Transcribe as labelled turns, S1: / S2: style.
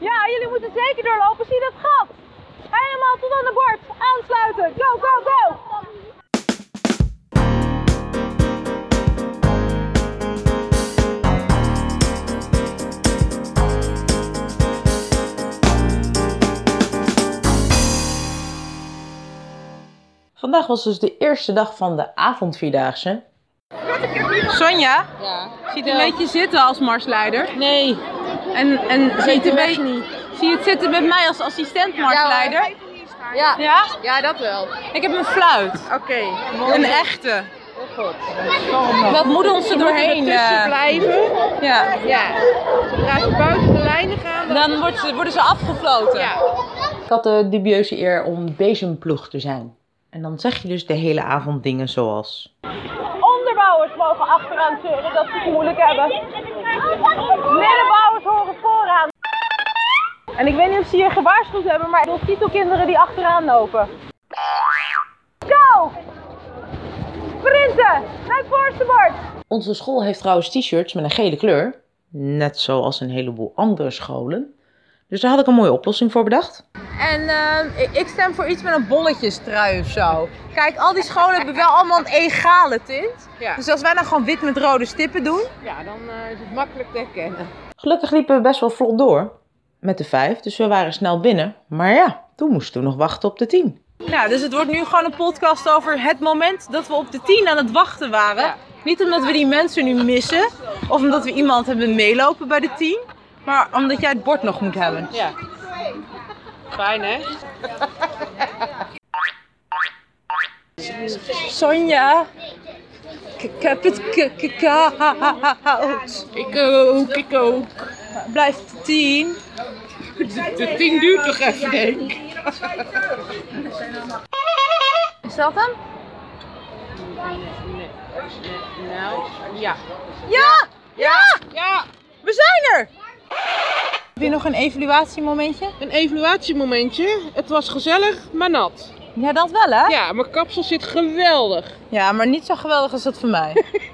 S1: Ja, jullie moeten zeker doorlopen. Zie dat gat? Helemaal tot aan de bord. Aansluiten. Go, go, go.
S2: Vandaag was dus de eerste dag van de avondvierdaagse.
S1: Sonja
S3: Ja.
S1: ziet een beetje zitten als marsleider.
S3: Nee,
S1: En, en ziet een
S3: weg
S1: beetje... Zie je het zitten met mij als assistent marsleider?
S3: Ja.
S1: Ja?
S3: ja, dat wel.
S1: Ik heb een fluit.
S3: Oké.
S1: Een echte.
S3: Oh, Wat
S1: moet ons er doorheen,
S3: tussen
S1: eh,
S3: blijven.
S1: Ja.
S3: Ja. Zodra ze buiten de lijnen gaan, dan...
S1: Dan wordt ze- worden ze afgefloten.
S3: Ja.
S2: Ik had de dubieuze eer om bezemploeg te zijn. En dan zeg je dus de hele avond dingen zoals...
S1: Onderbouwers mogen achteraan zeuren dat ze het moeilijk hebben. Middenbouwers horen vooraan. En ik weet niet of ze hier gewaarschuwd hebben, maar nog titelkinderen die achteraan lopen. Go! Sprinten! Naar het voorste bord!
S2: Onze school heeft trouwens t-shirts met een gele kleur. Net zoals een heleboel andere scholen. Dus daar had ik een mooie oplossing voor bedacht.
S1: En ehm, ik- ik stem voor iets met een bolletjestrui of zo. Kijk, al die scholen hebben wel allemaal een egale tint.
S3: Ja.
S1: Dus als wij dan gewoon wit met rode stippen doen.
S3: ja, dan eh, is het makkelijk te herkennen.
S2: Gelukkig liepen we best wel vlot door. Met de vijf, dus we waren snel binnen. Maar ja, toen moesten we nog wachten op de tien.
S1: Nou, dus het wordt nu gewoon een podcast over het moment dat we op de 10 aan het wachten waren.
S3: Ja.
S1: Niet omdat we die mensen nu missen of omdat we iemand hebben meelopen bij de 10, maar omdat jij het bord nog moet hebben.
S3: Ja. Fijn, hè?
S1: Sonja, ik heb het koud.
S3: Ik ook, ik ook.
S1: Blijf de 10.
S3: De tien duurt nog even, denk ik.
S1: Is dat hem?
S3: Nou, ja.
S1: Ja! Ja!
S3: Ja,
S1: We zijn er! Heb je nog een evaluatiemomentje?
S3: een evaluatiemomentje. Het was gezellig, maar nat.
S1: Ja, dat wel hè?
S3: Ja, mijn kapsel zit geweldig.
S1: Ja, maar niet zo geweldig als dat van mij.